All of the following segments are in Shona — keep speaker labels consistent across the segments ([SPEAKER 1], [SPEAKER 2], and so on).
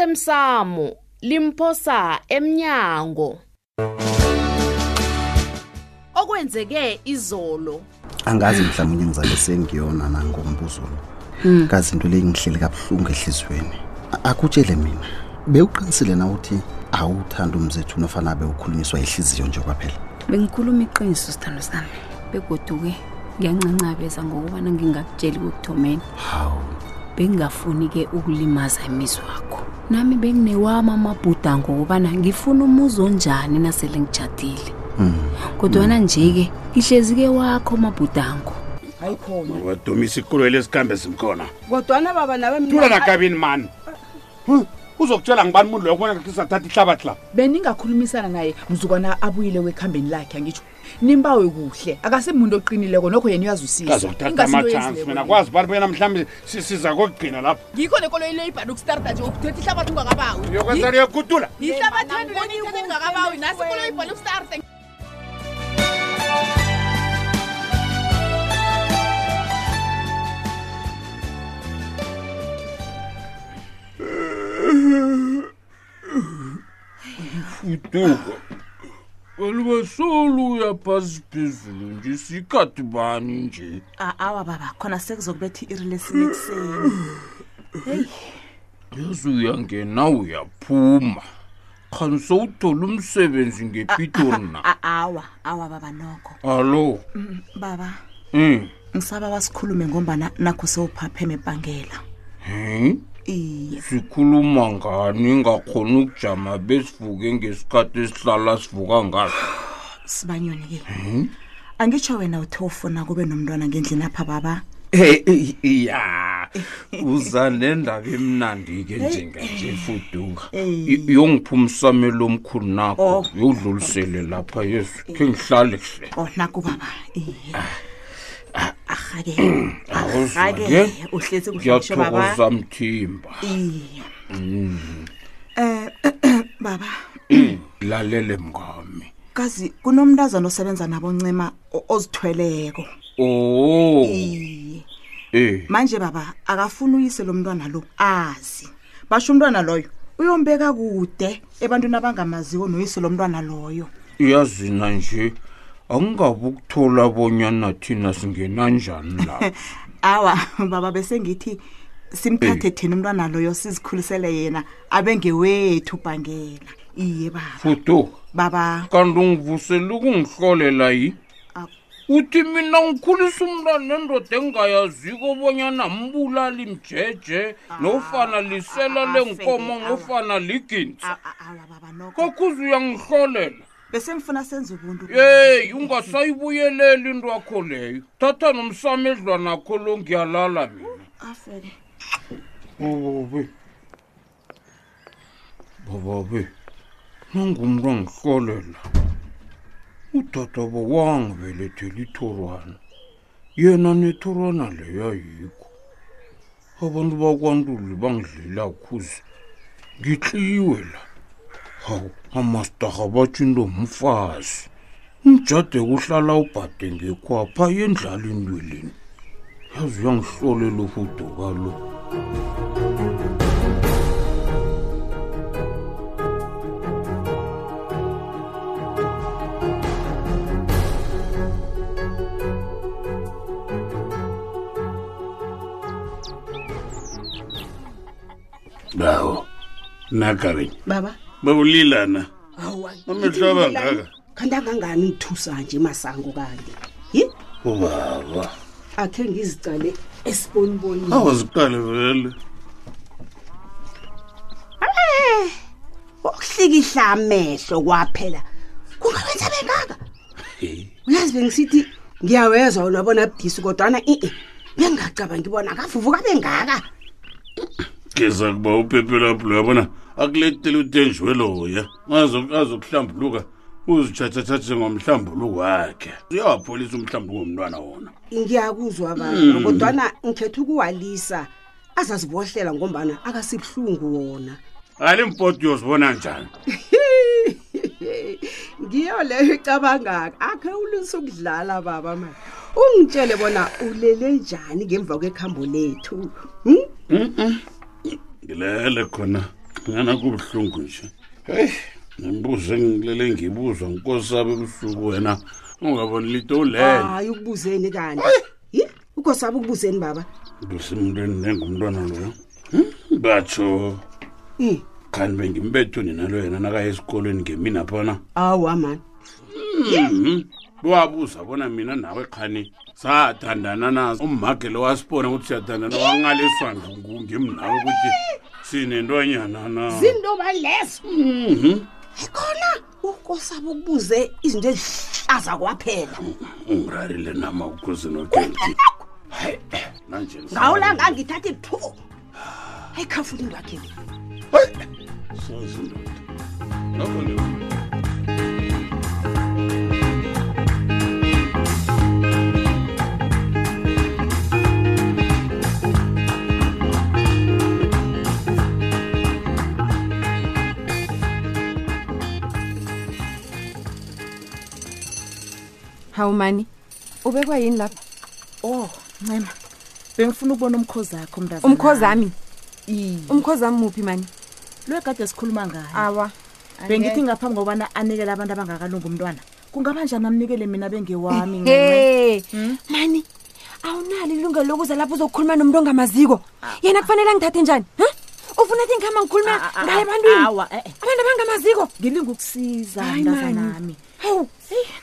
[SPEAKER 1] osemsamo limphosa emnyango okwenzeke izolo
[SPEAKER 2] angazi mhlawumbe ngizale sengiyona na ngombuzo
[SPEAKER 3] Hmm.
[SPEAKER 2] lo kazi into leyi ngihleli kabuhlungu ehlizweni akutshele mina bewuqinisile na uthi awuthanda umzethu nofana bewukhulunyiswa ihliziyo nje kwaphela
[SPEAKER 4] bengikhuluma iqiniso sithando sami begoduke ngiyancancabeza ngokubana ngingakutsheli kokuthomeni
[SPEAKER 2] hawu
[SPEAKER 4] bengingafuni-ke ukulimaza imizwa wakho nami benginewami amabhuda ngokubana ngifuna umuzi onjani nasele ngijadile kodwana nje-ke ngihlezi-ke wakho amabhudango
[SPEAKER 5] wadumisa ikulweli esikhambe simkhona
[SPEAKER 6] kodwana baba nawe
[SPEAKER 5] tula nakabini mani Huh, uzokutshela ngibani umuntu loyo kubona kisathatha ihlabathi la
[SPEAKER 6] beningakhulumisana naye mzukwana abuyile wekhambeni lakhe angitsho nimbawe kuhle akasimuntu oqinileko nokho yena
[SPEAKER 5] kazokuthatha amachansi
[SPEAKER 6] uyazwisisa
[SPEAKER 5] mina kwazi bani bonyana mhlawumbe si- siza kokugcina lapha
[SPEAKER 7] ngikho nekoloyi leyo ibhade ukustarta nje ukuthetha ihlabathi ungakabawi
[SPEAKER 5] yokwenza leyokutula
[SPEAKER 7] ihlabathenuleniithetha ningakabawi nasi ikoloyi ibhade ukustarta
[SPEAKER 8] utuka aluba soluya phasi phezulu nje sikhathi bani nje
[SPEAKER 9] awa baba khona sekuzokubetha i-iri lesine ekuseni
[SPEAKER 8] yaze uyangena uyaphuma khani sowuthola umsebenzi ngepitori na
[SPEAKER 9] A- awa awa baba nokho
[SPEAKER 8] alo
[SPEAKER 9] baba
[SPEAKER 8] um
[SPEAKER 9] ngisaba wasikhulume ngombana nakho sewuphapheme ebhangela iye
[SPEAKER 8] sikhuluma ngani ngakhona ukujama besivuke ngesikhathi esihlala sivuka ngaso
[SPEAKER 9] sibanyoni-ke angitsho wena uthe ufuna kube nomntwana ngendlini apha baba
[SPEAKER 8] ya uza nendaba emnandi-ke njenganje fuduka
[SPEAKER 9] Eh.
[SPEAKER 8] yongiphumisamelo omkhulu nakho
[SPEAKER 9] Oh.
[SPEAKER 8] yowudlulisele lapha yesu khe ngihlale hle
[SPEAKER 9] o Oh, naku baba iye arhake
[SPEAKER 8] awuzake
[SPEAKER 9] arhake uhlezi kuhleisho baba
[SPEAKER 8] ngiyathokoza mthimba
[SPEAKER 9] iye um baba
[SPEAKER 8] lalele mngami
[SPEAKER 9] kazi kunomntazana osebenza naboncema o- ozithweleko
[SPEAKER 8] o
[SPEAKER 9] iye
[SPEAKER 8] Oh, eh
[SPEAKER 9] manje baba akafuni uyise lo mntwana lo azi basho umntwana loyo uyombeka kude ebantwini abangamaziwo noyise lo mntwana loyo
[SPEAKER 8] iyazina nje angingabi ukuthola bonyana thina singena njani la
[SPEAKER 9] awa baba bese ngithi simthathe thina umntwana loyo sizikhulisele yena abe ngewethu ubhangela iye baba
[SPEAKER 8] futo
[SPEAKER 9] baba
[SPEAKER 8] kanti ungivusela ukungihlolela yi
[SPEAKER 9] Ak-
[SPEAKER 8] uthi mina ngikhulisa umntwana nendoda engingayaziko bonyana mbulali mjeje nofana lisela
[SPEAKER 9] ah,
[SPEAKER 8] lenkomo
[SPEAKER 9] Fendi, awa.
[SPEAKER 8] nofana liginsa
[SPEAKER 9] a- a- awa baba noko
[SPEAKER 8] kokhuze uyangihlolela
[SPEAKER 9] bese ngifuna senze ubuntu
[SPEAKER 8] yeyi ungasayibuyeleli into yakho leyo thatha nomsamedlwanakho lo ngiyalala mina
[SPEAKER 9] afeke
[SPEAKER 8] bababe bababe nangumntu angihlolela udadaba wangibelethela ithorwana yena nethorwana leyo ayikho abantu bakwantuli bangidlela khuze ngitliwe la hawu amastaha batsho into mfazi umjade kuhlala ubhade ngekhwapha yendlalini lwelini yazi uyangihlolela uhudoka lo
[SPEAKER 5] dawo nakabini
[SPEAKER 10] baba
[SPEAKER 5] bawulila na
[SPEAKER 10] hawa
[SPEAKER 5] amehlo abangaka
[SPEAKER 10] kanti angangani ngithusa nje masango kanti yi
[SPEAKER 5] ubaba
[SPEAKER 10] akhe ngizicale esibonibonini
[SPEAKER 5] awaziqale vele
[SPEAKER 10] okuhlikihla amehlo kwaphela kungawenza bengaka uyazi bengisithi ngiyawezwa wona bona budisi kodwana i-e bengingacaba ngibona akavuvuka bengaka
[SPEAKER 5] ngeza kuba uphephelaphulo yabona akuletele utenjiwe loya Azo- azokuhlambuluka uzitshathatshathe ngomhlambuluko wakhe uyawapholisa umhlambuluko womntwana wona
[SPEAKER 10] ngiyakuzwa bantu kodwana ngikhetha ukuwalisa azazibohlela ngombana akasibuhlungu wona
[SPEAKER 5] ali mpoto uyozibona njani
[SPEAKER 10] ngiyo leyo icabangaka akhe ulisa ukudlala baba mani ungitshele bona ulele
[SPEAKER 6] Hm?
[SPEAKER 10] njani ngemva kwekhambo lethu Hmm?
[SPEAKER 5] ngilele khona ngana kubuhlungu nje heyi nembuzo engilele ngibuzwa nkosi abe busuku wena ungaboni lito ulele
[SPEAKER 6] hayi ukubuzeni kanti yi ugosabe ukubuzeni baba
[SPEAKER 5] ngisemntwini nengumntwana loyo batsho
[SPEAKER 6] i
[SPEAKER 5] khani bengimbetho ninalo yena nakaya esikolweni ngemina phana
[SPEAKER 6] awa mani
[SPEAKER 5] Mhm. wabuza bona mina nawe khani sathandana na ummagele wasibona ukuthi siyathandana wangaliswa ngim nawe ukuthi sinentwanyana na
[SPEAKER 6] zinto balezo
[SPEAKER 5] Mhm.
[SPEAKER 6] ekhona ugosabe ukubuze izinto ezihlaza kwaphela
[SPEAKER 5] ungirarile nama ukhosini okenti nanje
[SPEAKER 6] ngawulanga ngithatha iphuko hayi khafuni ngakhe
[SPEAKER 5] sozindoda nokho leyo
[SPEAKER 11] hawu mani ubekwa yini lapha
[SPEAKER 9] oh ncema bengifuna ukubona umkhozi akho mntazana.
[SPEAKER 11] umkhozami
[SPEAKER 9] Iye.
[SPEAKER 11] umkhozami muphi mani
[SPEAKER 9] lo kade sikhuluma ngayo
[SPEAKER 11] awa
[SPEAKER 9] bengithi ngaphambi kokubana anikele abantu abangakalungi umntwana kungaba njani amnikele mina bengewami ncema?
[SPEAKER 11] he Hmm? mani awunalo ilungelo lokuza lapho uzokhuluma nomuntu ongamaziko yena kufanele angithathe njani ha ufuna thi ngihamba ngikhuluma
[SPEAKER 9] Ah, ah,
[SPEAKER 11] ngaye
[SPEAKER 9] ah,
[SPEAKER 11] ebantwini
[SPEAKER 9] awa, eh, eh.
[SPEAKER 11] abantu abangamaziko
[SPEAKER 9] ngilinga ukusiza
[SPEAKER 11] Hayi, mani.
[SPEAKER 9] mntazanami
[SPEAKER 11] hawu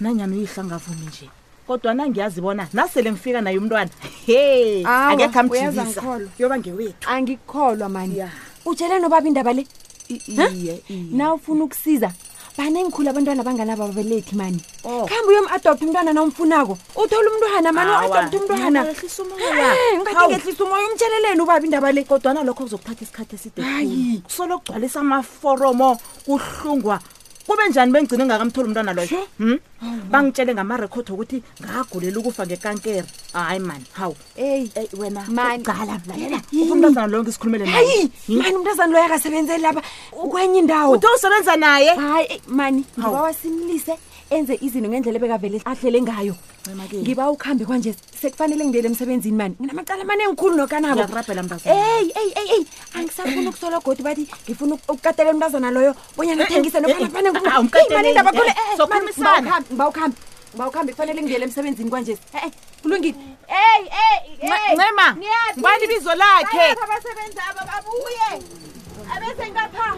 [SPEAKER 9] nanyani uyihlangavumi nje kodwa nangiyazibona nasele ngifika naye umntwana he
[SPEAKER 11] Awa,
[SPEAKER 9] akekho
[SPEAKER 11] uyaza
[SPEAKER 9] amjikisa
[SPEAKER 11] ngikholwa.
[SPEAKER 9] yoba ngewethu
[SPEAKER 11] angikholwa mani
[SPEAKER 9] Ya.
[SPEAKER 11] utshele nobaba indaba le
[SPEAKER 9] iye iye
[SPEAKER 11] na ufuna ukusiza banengikhulu abantwana abanganababelethi mani
[SPEAKER 9] Oh.
[SPEAKER 11] khambe uyom-adoptha umntwana na umfunako uthole umntwana mani
[SPEAKER 9] Awa,
[SPEAKER 11] u-adoptha umntwana
[SPEAKER 9] ngiyawehlisa umoya.
[SPEAKER 11] Eh, ungathi
[SPEAKER 9] Hawu.
[SPEAKER 11] ngehlisa umoya umtsheleleni ubaba indaba le
[SPEAKER 9] kodwana lokho kuzokuthatha isikhathi eside
[SPEAKER 11] Hayi.
[SPEAKER 9] solo kugcwalisa amaforomo kuhlungwa kube njani bengigcine ngakamtholi umntwana loyo hmm? bangitshele ngamarekhodi okuthi ngagulela ukufa ngekankere hayi mani hawu
[SPEAKER 11] eyi
[SPEAKER 9] eyi wena
[SPEAKER 11] Mani.
[SPEAKER 9] gala lalela
[SPEAKER 11] Yi.
[SPEAKER 9] umntazana Hmm? loyo ngisikhulumele
[SPEAKER 11] hayi mani umntazana loyo akasebenzeli lapha kwenye indawo
[SPEAKER 9] uthe usebenza naye
[SPEAKER 11] hayi eyi, mani
[SPEAKER 9] Hawu.
[SPEAKER 11] ngiba wasimlise enze izinto ngendlela ebekavele ahlele ngayo
[SPEAKER 9] Ncema-ke.
[SPEAKER 11] ngiba ukuhambe kwanje sekufanele ngibuyele emsebenzini mani nginamacala amaningikhulu nokanabo
[SPEAKER 9] Ngiyakurabhela, mntazana.
[SPEAKER 11] eyi eyi eyi eyi angisafuni ukusola godi bathi ngifuna uk- ukukatelela umntazana loyo bonyana athengise
[SPEAKER 9] eh, ah, ah, umkateleli, eh, sokhulumisana.
[SPEAKER 11] bawukuhambe bawukuhambe kufanele ngibuyele emsebenzini kwanje e-e kulungile eyi eyi
[SPEAKER 9] ncema ngubani ibizo lakhe
[SPEAKER 12] abasebenzi aba babuye abesengapha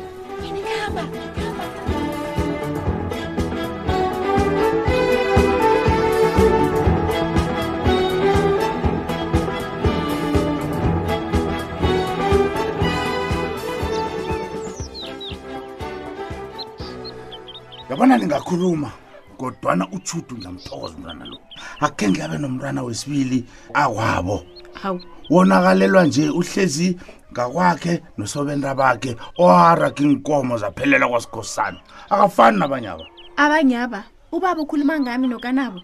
[SPEAKER 13] yabona ningakhuluma kodwana utshudu ngiyamthokoza umntwana lo akhe ngiyabe nomntwana wesibili awabo
[SPEAKER 9] hawu
[SPEAKER 13] wonakalelwa nje uhlezi ngakwakhe nosobenda bakhe oharage inkomo zaphelela kwasikhosana akafani nabanye aba
[SPEAKER 3] abanyaba ubaba ukhuluma ngami nokanabo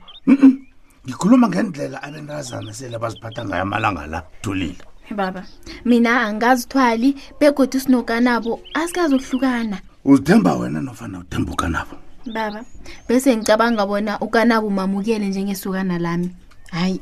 [SPEAKER 13] ngikhuluma ngendlela abentazana sele baziphatha ngayo amalanga la tulile
[SPEAKER 3] baba mina angazithwali begodwa sinokanabo asikazokuhlukana
[SPEAKER 13] uzithemba wena nofana uthemba ukanabo
[SPEAKER 3] baba bese ngicabanga bona ukanabo mamukele njengesukana lami hayi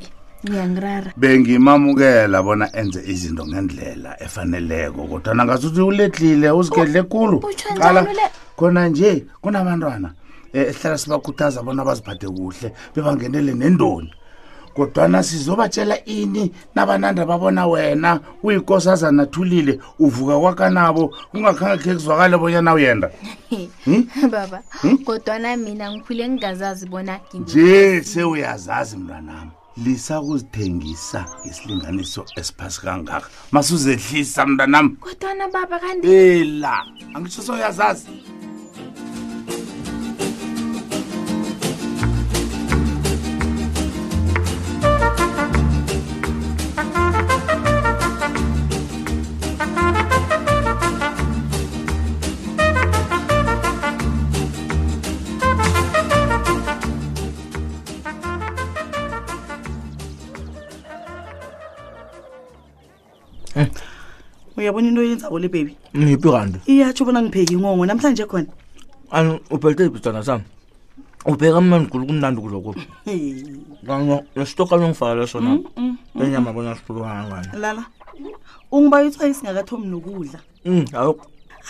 [SPEAKER 3] ngiyangirara
[SPEAKER 13] bengimamukela bona enze izinto ngendlela efaneleko kodwa nangazuthi uledlile uzigedle khulu
[SPEAKER 3] utsho Oh, njalo
[SPEAKER 13] Qala,
[SPEAKER 3] le-
[SPEAKER 13] khona nje kunabantwana eh, esihlala sibakhuthaza bona baziphathe kuhle bebangenele nendoni kodwana sizobatshela ini nabananda babona wena uyikosazana thulile uvuka kwakanabo ungakhange khe kuzwakale bonyana uyenda
[SPEAKER 3] baba kodwana mina ngikhule ngingazazi bona ngimi-
[SPEAKER 13] nje sewuyazazi mntwanami lisakuzithengisa ngesilinganiso esiphasi kangaka masuzehlisa mntwanami
[SPEAKER 3] kodwana baba kanti
[SPEAKER 13] ela angisho soyazazi
[SPEAKER 10] uyabona into yenzabo le bebi
[SPEAKER 14] ngiphi kanti
[SPEAKER 10] iyatsho bona ngipheki ingongo namhlanje khona
[SPEAKER 14] ani uphelte ibhidana sami ubheka mnandi gulu kumnandi kuloko
[SPEAKER 10] Hey,
[SPEAKER 14] nesitoka longifakele sona
[SPEAKER 10] mm,
[SPEAKER 14] enyama bona sihlulukangangani
[SPEAKER 10] lala ungibayithwa isingakathomi nokudla
[SPEAKER 14] Mm, hawu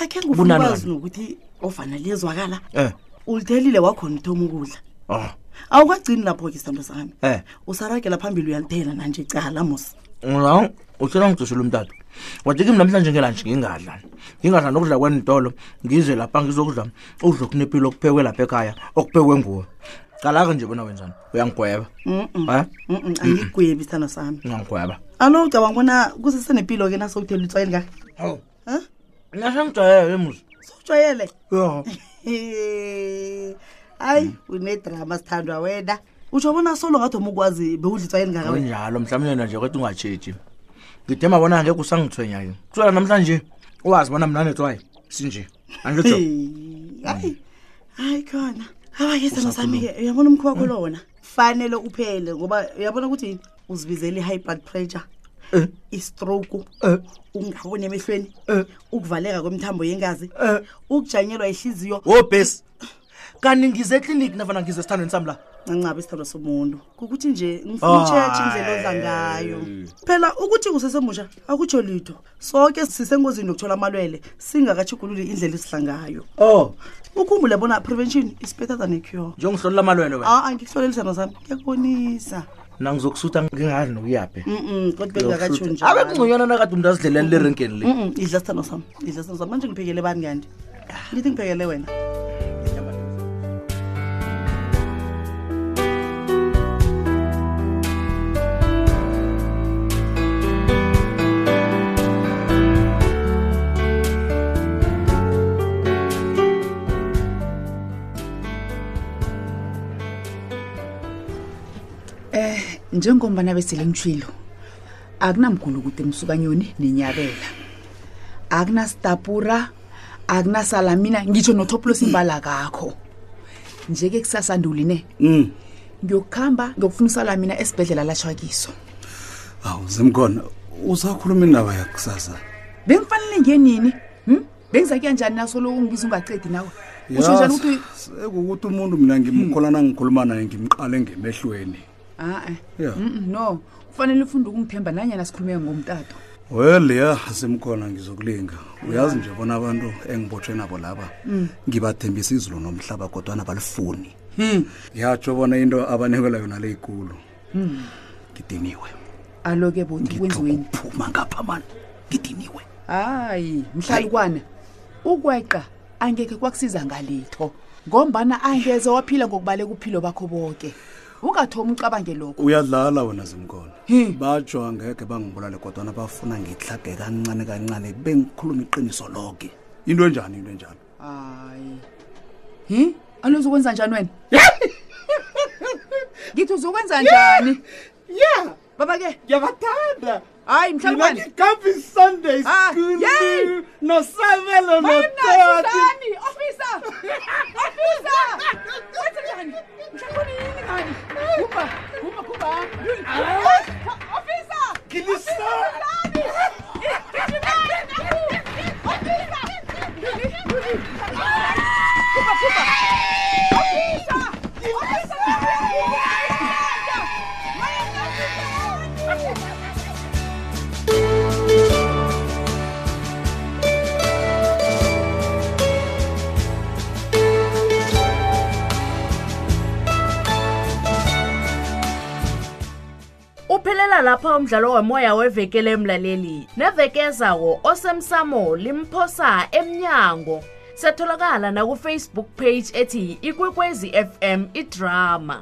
[SPEAKER 10] akhe
[SPEAKER 14] Bunani
[SPEAKER 10] ngufukwazi
[SPEAKER 14] wami?
[SPEAKER 10] nokuthi ofana liyezwakala
[SPEAKER 14] Eh.
[SPEAKER 10] ulithelile wakhona uthoma ukudla
[SPEAKER 14] Ah.
[SPEAKER 10] awukagcini lapho-ke sithando sami
[SPEAKER 14] Eh.
[SPEAKER 10] usaragela phambili uyalithela nanje cala mos
[SPEAKER 14] la uthela ngidosela umtato wathi kimi namhlanje ngelanje ngingadla ngingadla nokudla kwenitolo ngize lapha ngizokudla ukudla okunepilo okuphekwe lapha ekhaya okuphekwe nguwe cala-ke nje bona wenzani uyangigweba Eh?
[SPEAKER 10] angigwebi sithando sami
[SPEAKER 14] ungangigweba
[SPEAKER 10] alo ucabanga bona kusesenempilo-ke nasowuthela utswayeli kaka
[SPEAKER 14] hawu nasengijayele musa
[SPEAKER 10] sowutshwayele
[SPEAKER 14] ya
[SPEAKER 10] hayi unedrama sithandwa wena utsho bona solo ngathoma ukwazi bewudla itswayeli ngaka wena
[SPEAKER 14] kunjalo mhlawumbe yena nje kwethi ungatshetshi ngidema bona angeke usangithwenyayo kusela namhlanje uwazi bona mnanetswayo sinje angitsho
[SPEAKER 10] hayi hayi khona awake sithando
[SPEAKER 14] Usakhuluma.
[SPEAKER 10] sami-ke uyabona umkhu wakho lo wona fanele uphele ngoba uyabona ukuthi uzibizele i-high blood pressure istroke ungaboni emehlweni ukuvaleka kwemithambo yengazi ukujanyelwa ihliziyo
[SPEAKER 14] wobhesi kanti ngize ekliniki nafana ngize esithandweni sami la
[SPEAKER 10] ncancaba isithando somuntu kukuthi nje ngifuna utshetshe indlela oza ngayo phela ukuthi usesemusha akutsho litho soke sisengozini yokuthola amalwele singakatshugululi indlela esihlangayo
[SPEAKER 14] o
[SPEAKER 10] ukhumbule bona prevention is better than a cure Ah,
[SPEAKER 14] njengihlolela amalwelwe wena
[SPEAKER 10] a angikuhloleli sithando sami ngiyakubonisa
[SPEAKER 14] nangizokutha ngingazi nokuyaphi
[SPEAKER 10] Mm-mm, kodwa bengakatsho
[SPEAKER 14] Ngizokuthatha.
[SPEAKER 10] njalo
[SPEAKER 14] abe kungconywana nakade umntu azidlelele lerenkeni le
[SPEAKER 10] Mm-mm, idla sithando sami idla sithando sami manje ngiphekele bani kanti ngithi ngiphekele wena
[SPEAKER 15] Eh njengombana besele ngitshilo akunamgulu ukuthi emsukanyoni nenyabela akunastapura akunasalamina ngitsho notoplos imbala kakho nje-ke kusasanduline ngiyokuhamba ngiyokufuna usalamina esibhedlela lashwakiso
[SPEAKER 16] awu zimkhona usakhuluma indaba yakusasa
[SPEAKER 15] bengifanele ngenini hm? bengiza kuya njani nasoloku ngibiza ungacedi nawe usho njani ukuthi
[SPEAKER 16] sekukuthi umuntu mina ngimkholana ngikhuluma naye ngimqale ngemehlweni
[SPEAKER 15] a-e
[SPEAKER 16] Ya.
[SPEAKER 15] no kufanele ufunde ukungithemba nanyana sikhulumeke ngomtato
[SPEAKER 16] well ya simkhona ngizokulinga uyazi nje bona abantu engibotshwe nabo laba
[SPEAKER 15] Mm.
[SPEAKER 16] ngibathembisa izulu nomhlaba kodwana balifuni yatsho bona into abanikelwa yona leyikulu
[SPEAKER 15] Hmm.
[SPEAKER 16] ngidiniwe
[SPEAKER 15] alo-ke bothi kwenziweni
[SPEAKER 16] phuma ngapha mani ngidiniwe
[SPEAKER 15] hayi mhlalukwana ukweqa angeke kwakusiza ngalitho ngombana angeze waphila ngokubaleka uphilo bakho bonke ungathomi ucabange lokho
[SPEAKER 16] uyadlala wena zimkhona batsho angeke bangibulale kodwana bafuna ngihlage kancane kancane bengikhuluma iqiniso loke into enjani into enjani
[SPEAKER 15] hayi hi alozokwenza njani wena ngithi uzokwenza njani ya baba ke ngiyabathanda hayi mhlalukwana
[SPEAKER 12] Happy Sunday
[SPEAKER 15] Ah,
[SPEAKER 12] school
[SPEAKER 15] yay!
[SPEAKER 12] nosabelo
[SPEAKER 15] Wena,
[SPEAKER 12] nothati
[SPEAKER 15] Suzani, officer! Officer! Wenza njani? Mhlawumbe yini ngani? Kuba, kuba, kuba. Officer!
[SPEAKER 12] Gilisa!
[SPEAKER 1] Uphelela lapha umdlalo womoya wevekele emlaleli. Nevekezawo osemsamo limphosa emnyango. Setholakala na ku Facebook page ethi Ikwekwezi FM iDrama.